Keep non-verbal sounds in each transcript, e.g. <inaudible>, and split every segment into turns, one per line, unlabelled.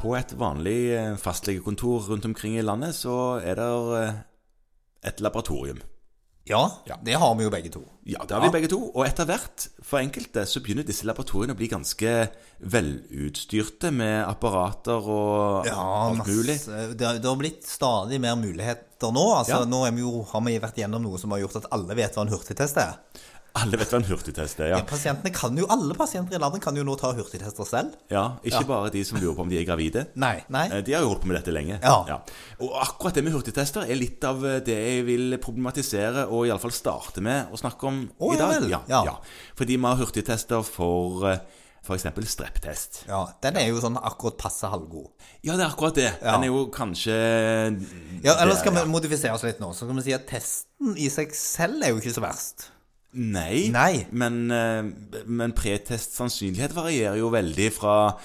På et vanlig eh, fastlegekontor rundt omkring i landet så er det et laboratorium.
Ja,
Ja.
det har vi jo begge to.
Ja, det har vi begge to. Og etter hvert, for enkelte, så begynner disse laboratoriene å bli ganske velutstyrte med apparater og alt mulig.
masse- Det, har- det har blitt stadig mer muligheter nå. Altså,
Ja.
Nå er vi jo, har vi vært gjennom noe som har gjort at alle vet hva en hurtigtest er.
Alle vet hva en hurtigtest er, ja.
Ja, pasientene kan jo, Alle pasienter i landet kan jo nå ta hurtigtester selv.
ja ikke bare de som lurer på om de er gravide.
Nei.
Eh, De har jo holdt på med dette lenge.
Ja.
Og akkurat det med hurtigtester er litt av eh, det jeg vil problematisere og iallfall starte med å snakke om
Å,
i
ja
dag.
vel.
Ja,
Ja.
ja. Fordi vi har hurtigtester for f.eks. streptest.
Ja, Den er jo sånn akkurat passe halvgod.
Ja, det er akkurat det. Den er jo kanskje
Ja, Eller skal
det-
vi modifisere oss litt nå? Så kan vi si at testen i seg selv er jo ikke så verst.
Nei,
Nei.
men, eh, men pretestsannsynlighet varierer jo veldig fra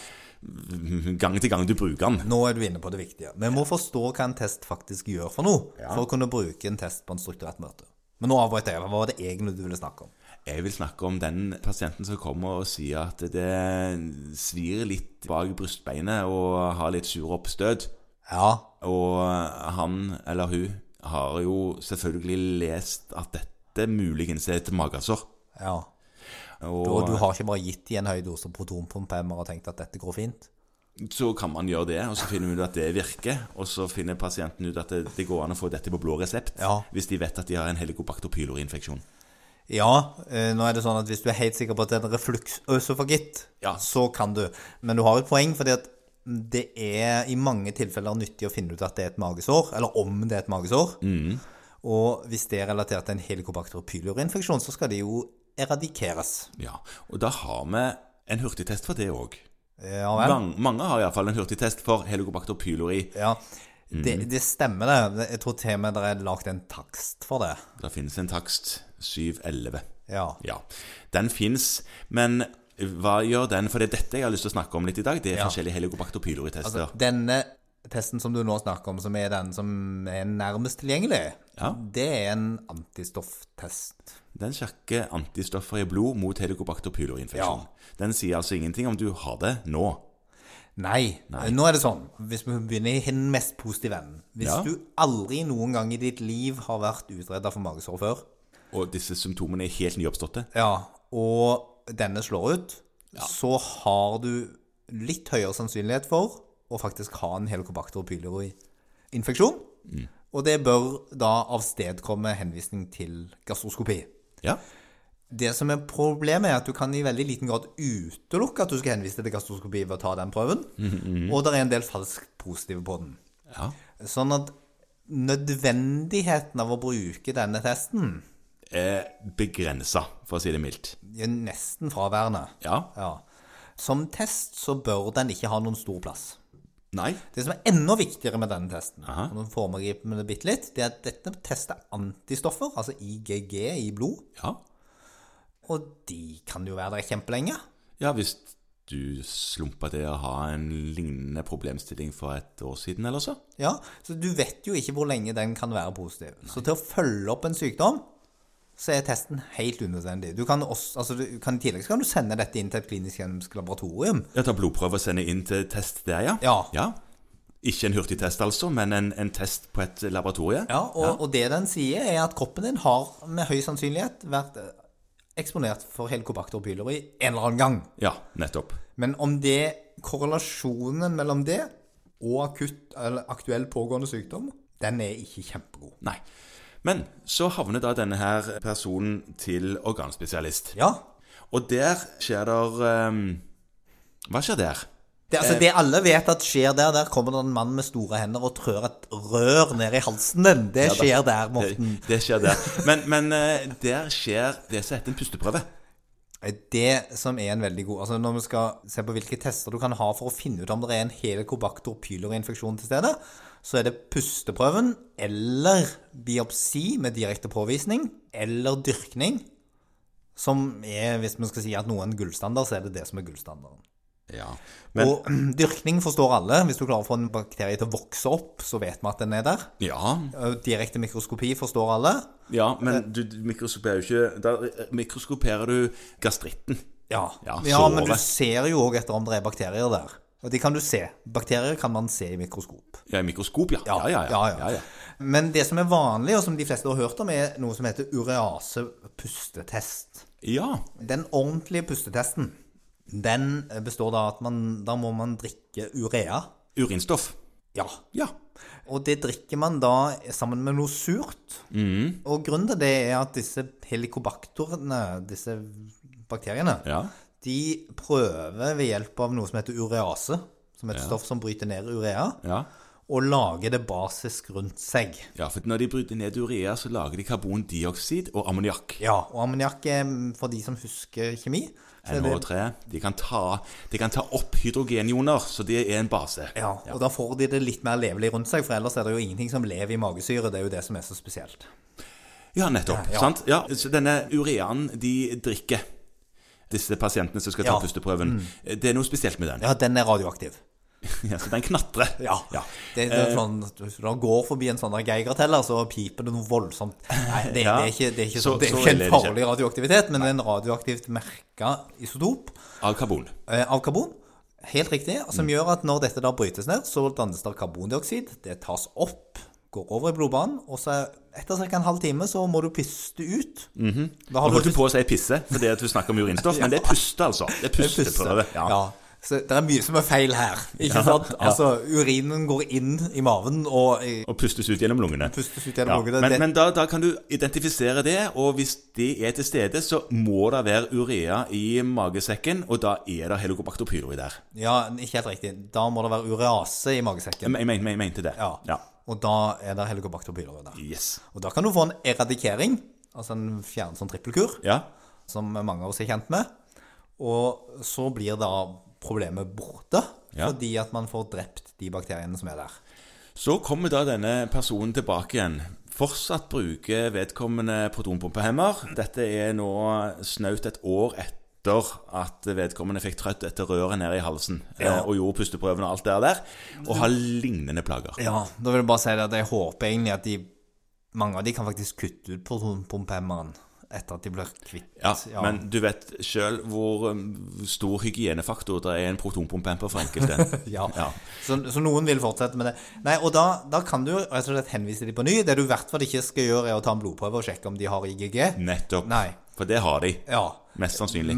gang til gang du bruker den.
Nå er du inne på det viktige. Vi må forstå hva en test faktisk gjør for noe,
Ja.
for å kunne bruke en test på en strukturert møte. Men nå avbrøt jeg. Hva var det egentlig du ville snakke om?
Jeg vil snakke om den pasienten som kommer og sier at det svir litt bak brystbeinet og har litt sure oppstøt.
Ja,
Og han eller hun har jo selvfølgelig lest at dette muligens er et magesår.
ja. Og
Og
du har ikke bare gitt dem en høy dose protonpumpehemmer og tenkt at dette går fint?
så kan man gjøre det, og så finner vi ut at det virker. Og så finner pasienten ut at det, det går an å få dette på blå resept
Ja.
hvis de vet at de har en helikobakter pylori-infeksjon.
Ja, eh, nå er det sånn at hvis du er helt sikker på at det er en refluksøsofagitt,
Ja.
så kan du. Men du har et poeng, fordi at det er i mange tilfeller nyttig å finne ut at det er et magesår, eller om det er et magesår. Og hvis det er relatert til en helikobakter pylori-infeksjon, så skal det jo eradikeres.
Ja, og da har vi en hurtigtest for det òg.
Eh, Ja vel.
Mange har iallfall en hurtigtest for helikobakter pylori.
Ja. Det, det stemmer, det. Jeg tror til og med det er lagd en takst for det.
Det finnes en takst 711.
Ja.
Ja, den fins, men hva gjør den? For det er dette jeg har lyst til å snakke om litt i dag. Det er
Ja. Altså-
forskjellige helikobakter pylori-tester.
Denne testen som du nå snakker om, som er den som er nærmest tilgjengelig,
Ja.
det er en antistofftest.
Den sjekker antistoffer i blod mot helikobakter pylori-infeksjon. Den sier altså ingenting om du har det nå.
Nei. Nå er det sånn, hvis vi begynner i den mest positive enden Hvis
Ja.
du aldri noen gang i ditt liv har vært utreda for magesår før,
Og disse symptomene er helt nyoppståtte?
ja, og denne slår ut, så har du litt høyere sannsynlighet for å faktisk ha en helikobakter pylori-infeksjon.
Mm.
Og det bør da avstedkomme henvisning til gastroskopi.
Ja.
Det som er problemet, er at du kan i veldig liten grad utelukke at du skal henvise til gastroskopi ved å ta den prøven. Og det er en del falskt positive på den.
ja.
Sånn at nødvendigheten av å bruke denne testen
Er begrensa, Eh, for å si det mildt.
er nesten fraværende.
Ja.
Ja. Som test så bør den ikke ha noen stor plass.
Nei.
Det som er enda viktigere med denne testen,
Aha.
og nå foregriper vi det bitte litt, det er at dette tester antistoffer, altså IGG i blod,
Ja.
og de kan jo være der kjempelenge.
Ja, hvis du slumpa til å ha en lignende problemstilling for et år siden eller så?
Ja, så du vet jo ikke hvor lenge den kan være positiv. Så til å følge opp en sykdom, så er testen helt unødvendig. Du kan også, altså du kan, I tillegg så kan du sende dette inn til et klinisk kjemisk laboratorium.
Jeg tar blodprøve og sender inn til test der, ja?
Ja.
Ikke en hurtigtest, altså, men en, en test på et laboratorie?
Ja, og, og det den sier, er at kroppen din har med høy sannsynlighet vært eh, eksponert for helikobakter pylori en eller annen gang.
Ja, nettopp.
Men om det korrelasjonen mellom det og akutt, eller aktuell pågående sykdom, den er ikke kjempegod.
Nei. Men så havner da denne her personen til organspesialist.
Ja,
Og der skjer der ehm, Hva skjer der?
Det, altså, det alle vet at skjer der, der kommer det en mann med store hender og trør et rør ned i halsen din. Det skjer der, Morten.
<laughs> Det, det skjer der. Men, men eh, der skjer det som heter en pusteprøve.
Det som er en veldig god Altså, når vi skal se på hvilke tester du kan ha for å finne ut om det er en helikobakter pylori-infeksjon til stede, så er det pusteprøven eller biopsi med direkte påvisning eller dyrkning som er, hvis vi skal si at noe er en gullstandard, så er det det som er gullstandarden.
Ja. Men,
og <clears throat> dyrkning forstår alle. Hvis du klarer å få en bakterie til å vokse opp, så vet vi at den er der.
ja,
Eh, Direkte mikroskopi forstår alle.
ja, men du du mikroskoperer jo ikke Da eh, mikroskoperer du gastritten.
Ja,
Ja,
ja men
såret.
du ser jo òg etter om det er bakterier der. Og de kan du se. Bakterier kan man se i mikroskop.
Ja, i mikroskop, ja. Ja, ja, ja.
Ja, ja. Men det som er vanlig, og som de fleste har hørt om, er noe som heter urease-pustetest.
ja.
Den ordentlige pustetesten, den består da at man, da må man drikke urea.
Urinstoff.
Ja.
Ja.
Og det drikker man da sammen med noe surt. Og grunnen til det er at disse helikobakterene, disse bakteriene,
ja.
de prøver ved hjelp av noe som heter urease, som er et stoff som bryter ned urea,
Ja.
og lager det basisk rundt seg.
ja, for når de bryter ned urea, så lager de karbondioksid og ammoniakk.
Ja, og ammoniakk er, for de som husker kjemi, så er det
NH3. De kan, ta, de kan ta opp hydrogenioner, så det er en base.
ja, og da får de det litt mer levelig rundt seg, for ellers er det jo ingenting som lever i magesyre. Det er jo det som er så spesielt.
Ja, nettopp.
Ja.
sant? Ja, så Denne ureaen de drikker, disse pasientene som skal ta
Ja. Mm.
pusteprøven, det er noe spesielt med den.
Ja, den er radioaktiv.
<laughs> Ja, så den knatrer.
Ja. Det, det er sånn, hvis du da går forbi en sånn der geigerteller, så piper det noe voldsomt. Nei, det,
Ja.
det er ikke, det er ikke,
Så-
sånn, det er
så ille
ikke
er
en
det ikke.
farlig radioaktivitet, men det er en radioaktivt merka isotop
Av karbon.
eh, av karbon. Helt riktig.
Mm.
Som gjør at når dette da brytes ned, så dannes det karbondioksid. Det tas opp, går over i blodbanen, og så etter ca. en halv time så må du puste ut. Da har
Mhm. Nå holdt
du
du på å si pisse, fordi at du snakker om
<laughs>
urinstoff, men det er puste, altså. Det er
puste.
pusteprøve.
Ja. Så det er mye som er feil her. Ikke sant? Altså, urinen går inn i maven og i
Og pustes ut gjennom lungene.
Pustes ut gjennom lungene.
Men,
Det-
men da, da kan du identifisere det, og hvis det er til stede, så må det være urea i magesekken, og da er det helicobacter pylori der.
Ja, ikke helt riktig. Da må det være urease i
Jeg
magesekken.
men- jeg men- jeg mente det.
Ja. Og da er det helicobacter pylori der.
Yes.
Og da kan du få en eradikering, altså en fjern sånn trippelkur,
Ja.
som mange av oss er kjent med. Og så blir da problemet borte,
Ja.
fordi at man får drept de bakteriene som er der.
Så kommer da denne personen tilbake igjen. Fortsatt bruker vedkommende protonpumpehemmer. Dette er nå snaut et år etter at vedkommende fikk trøtt etter røret nede i halsen
Ja.
eh, og gjorde pusteprøven og alt det der, og har lignende plager.
Ja, da vil jeg bare si det at jeg håper egentlig at de, mange av de kan faktisk kutte ut protonpumpehemmeren etter at de blir kvitt.
Ja, Men du vet sjøl hvor um, stor hygienefaktor det er en protonpumpehemmer for enkelte.
<laughs> Ja.
Ja.
Så, så noen vil fortsette med det. Nei, og da, da kan du rett og slett henvise dem på ny. Det du i hvert fall ikke skal gjøre, er å ta en blodprøve og sjekke om de har IGG.
Nettopp.
Nei. Mm.
For det har de.
Ja,
Mest sannsynlig.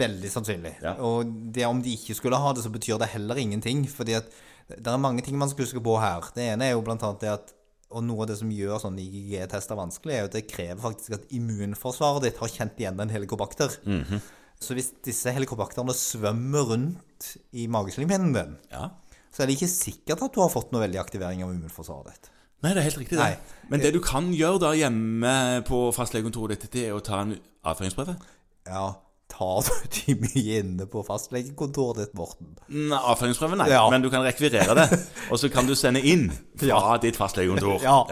veldig sannsynlig.
Ja.
Og det om de ikke skulle ha det, så betyr det heller ingenting. Fordi at det er mange ting man skal huske på her. Det ene er jo blant annet det at og noe av det som gjør sånne IGG-tester vanskelig, er jo at det krever faktisk at immunforsvaret ditt har kjent igjen en helikobakter.
Mhm.
Så hvis disse helikobakterne svømmer rundt i mageslimhinnen din,
Ja.
så er det ikke sikkert at du har fått noe veldig aktivering av immunforsvaret ditt.
Nei, det er helt riktig.
Nei. Eh.
det. Men det du kan gjøre da hjemme på fastlegekontoret ditt, det er å ta en avføringsprøve.
Ja, tar du de mye inne på fastlegekontoret ditt, Morten?
Nei, avføringsprøve, nei.
Ja.
Men du kan rekvirere
<laughs>
det. Og så kan du sende inn fra
Ja.
ditt fastlegekontor.
Ja.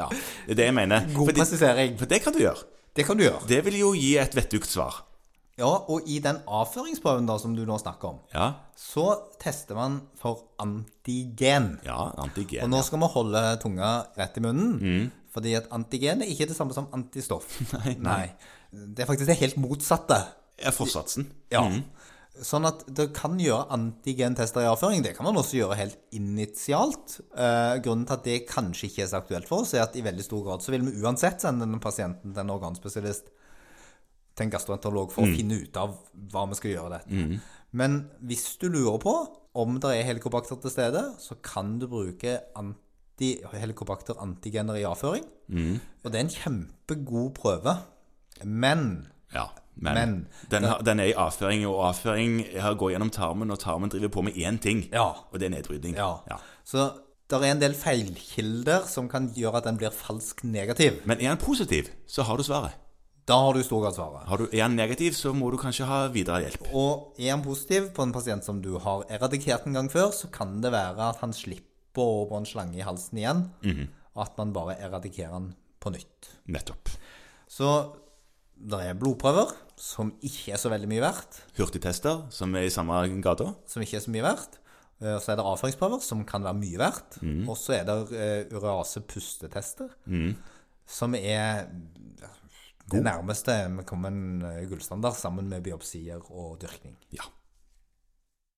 Det er det jeg mener.
God
Fordi-
presisering.
for det kan du gjøre.
Det kan du gjøre.
Det vil jo gi et vettugt svar.
Ja, og i den avføringsprøven da, som du nå snakker om,
Ja.
så tester man for antigen.
Ja,
Og
antigen.
nå skal vi holde tunga rett i munnen, fordi at antigen er ikke det samme som antistoff. Mm. <laughs> Nei, Det er faktisk det helt motsatte.
Er forsatsen.
Ja. Sånn at du kan gjøre antigentester i avføring. Det kan man også gjøre helt initialt. Eh, grunnen til at det kanskje ikke er så aktuelt for oss, er at i veldig stor grad så vil vi uansett sende den pasienten til en organspesialist, til en gastroenterolog, for å finne ut av hva vi skal gjøre dette. Men hvis du lurer på om det er helikobakter til stede, så kan du bruke anti helikobakter antigener i avføring. Og det er en kjempegod prøve. Men
Ja, men,
Men-
den, har- den er i avføring, og avføring har- går gjennom tarmen, og tarmen driver på med én ting,
Ja.
og det er nedbrydning.
Ja. Så det er en del feilkilder som kan gjøre at den blir falsk negativ.
Men er han positiv, så har du svaret.
Da har du i stor grad svaret.
Har du, er han negativ, så må du kanskje ha videre hjelp.
Og er han positiv på en pasient som du har eradikert en gang før, så kan det være at han slipper over en slange i halsen igjen, og at man bare eradikerer han på nytt.
Nettopp.
Så det er blodprøver, som ikke er så veldig mye verdt,
Hurtigtester, som er i samme gata.
som ikke er så mye verdt. Eh, Så er det avføringsprøver, som kan være mye verdt. Og så er det eh, urease-pustetester, som er det nærmeste vi kommer en eh, gullstandard, sammen med biopsier og dyrkning.
Ja.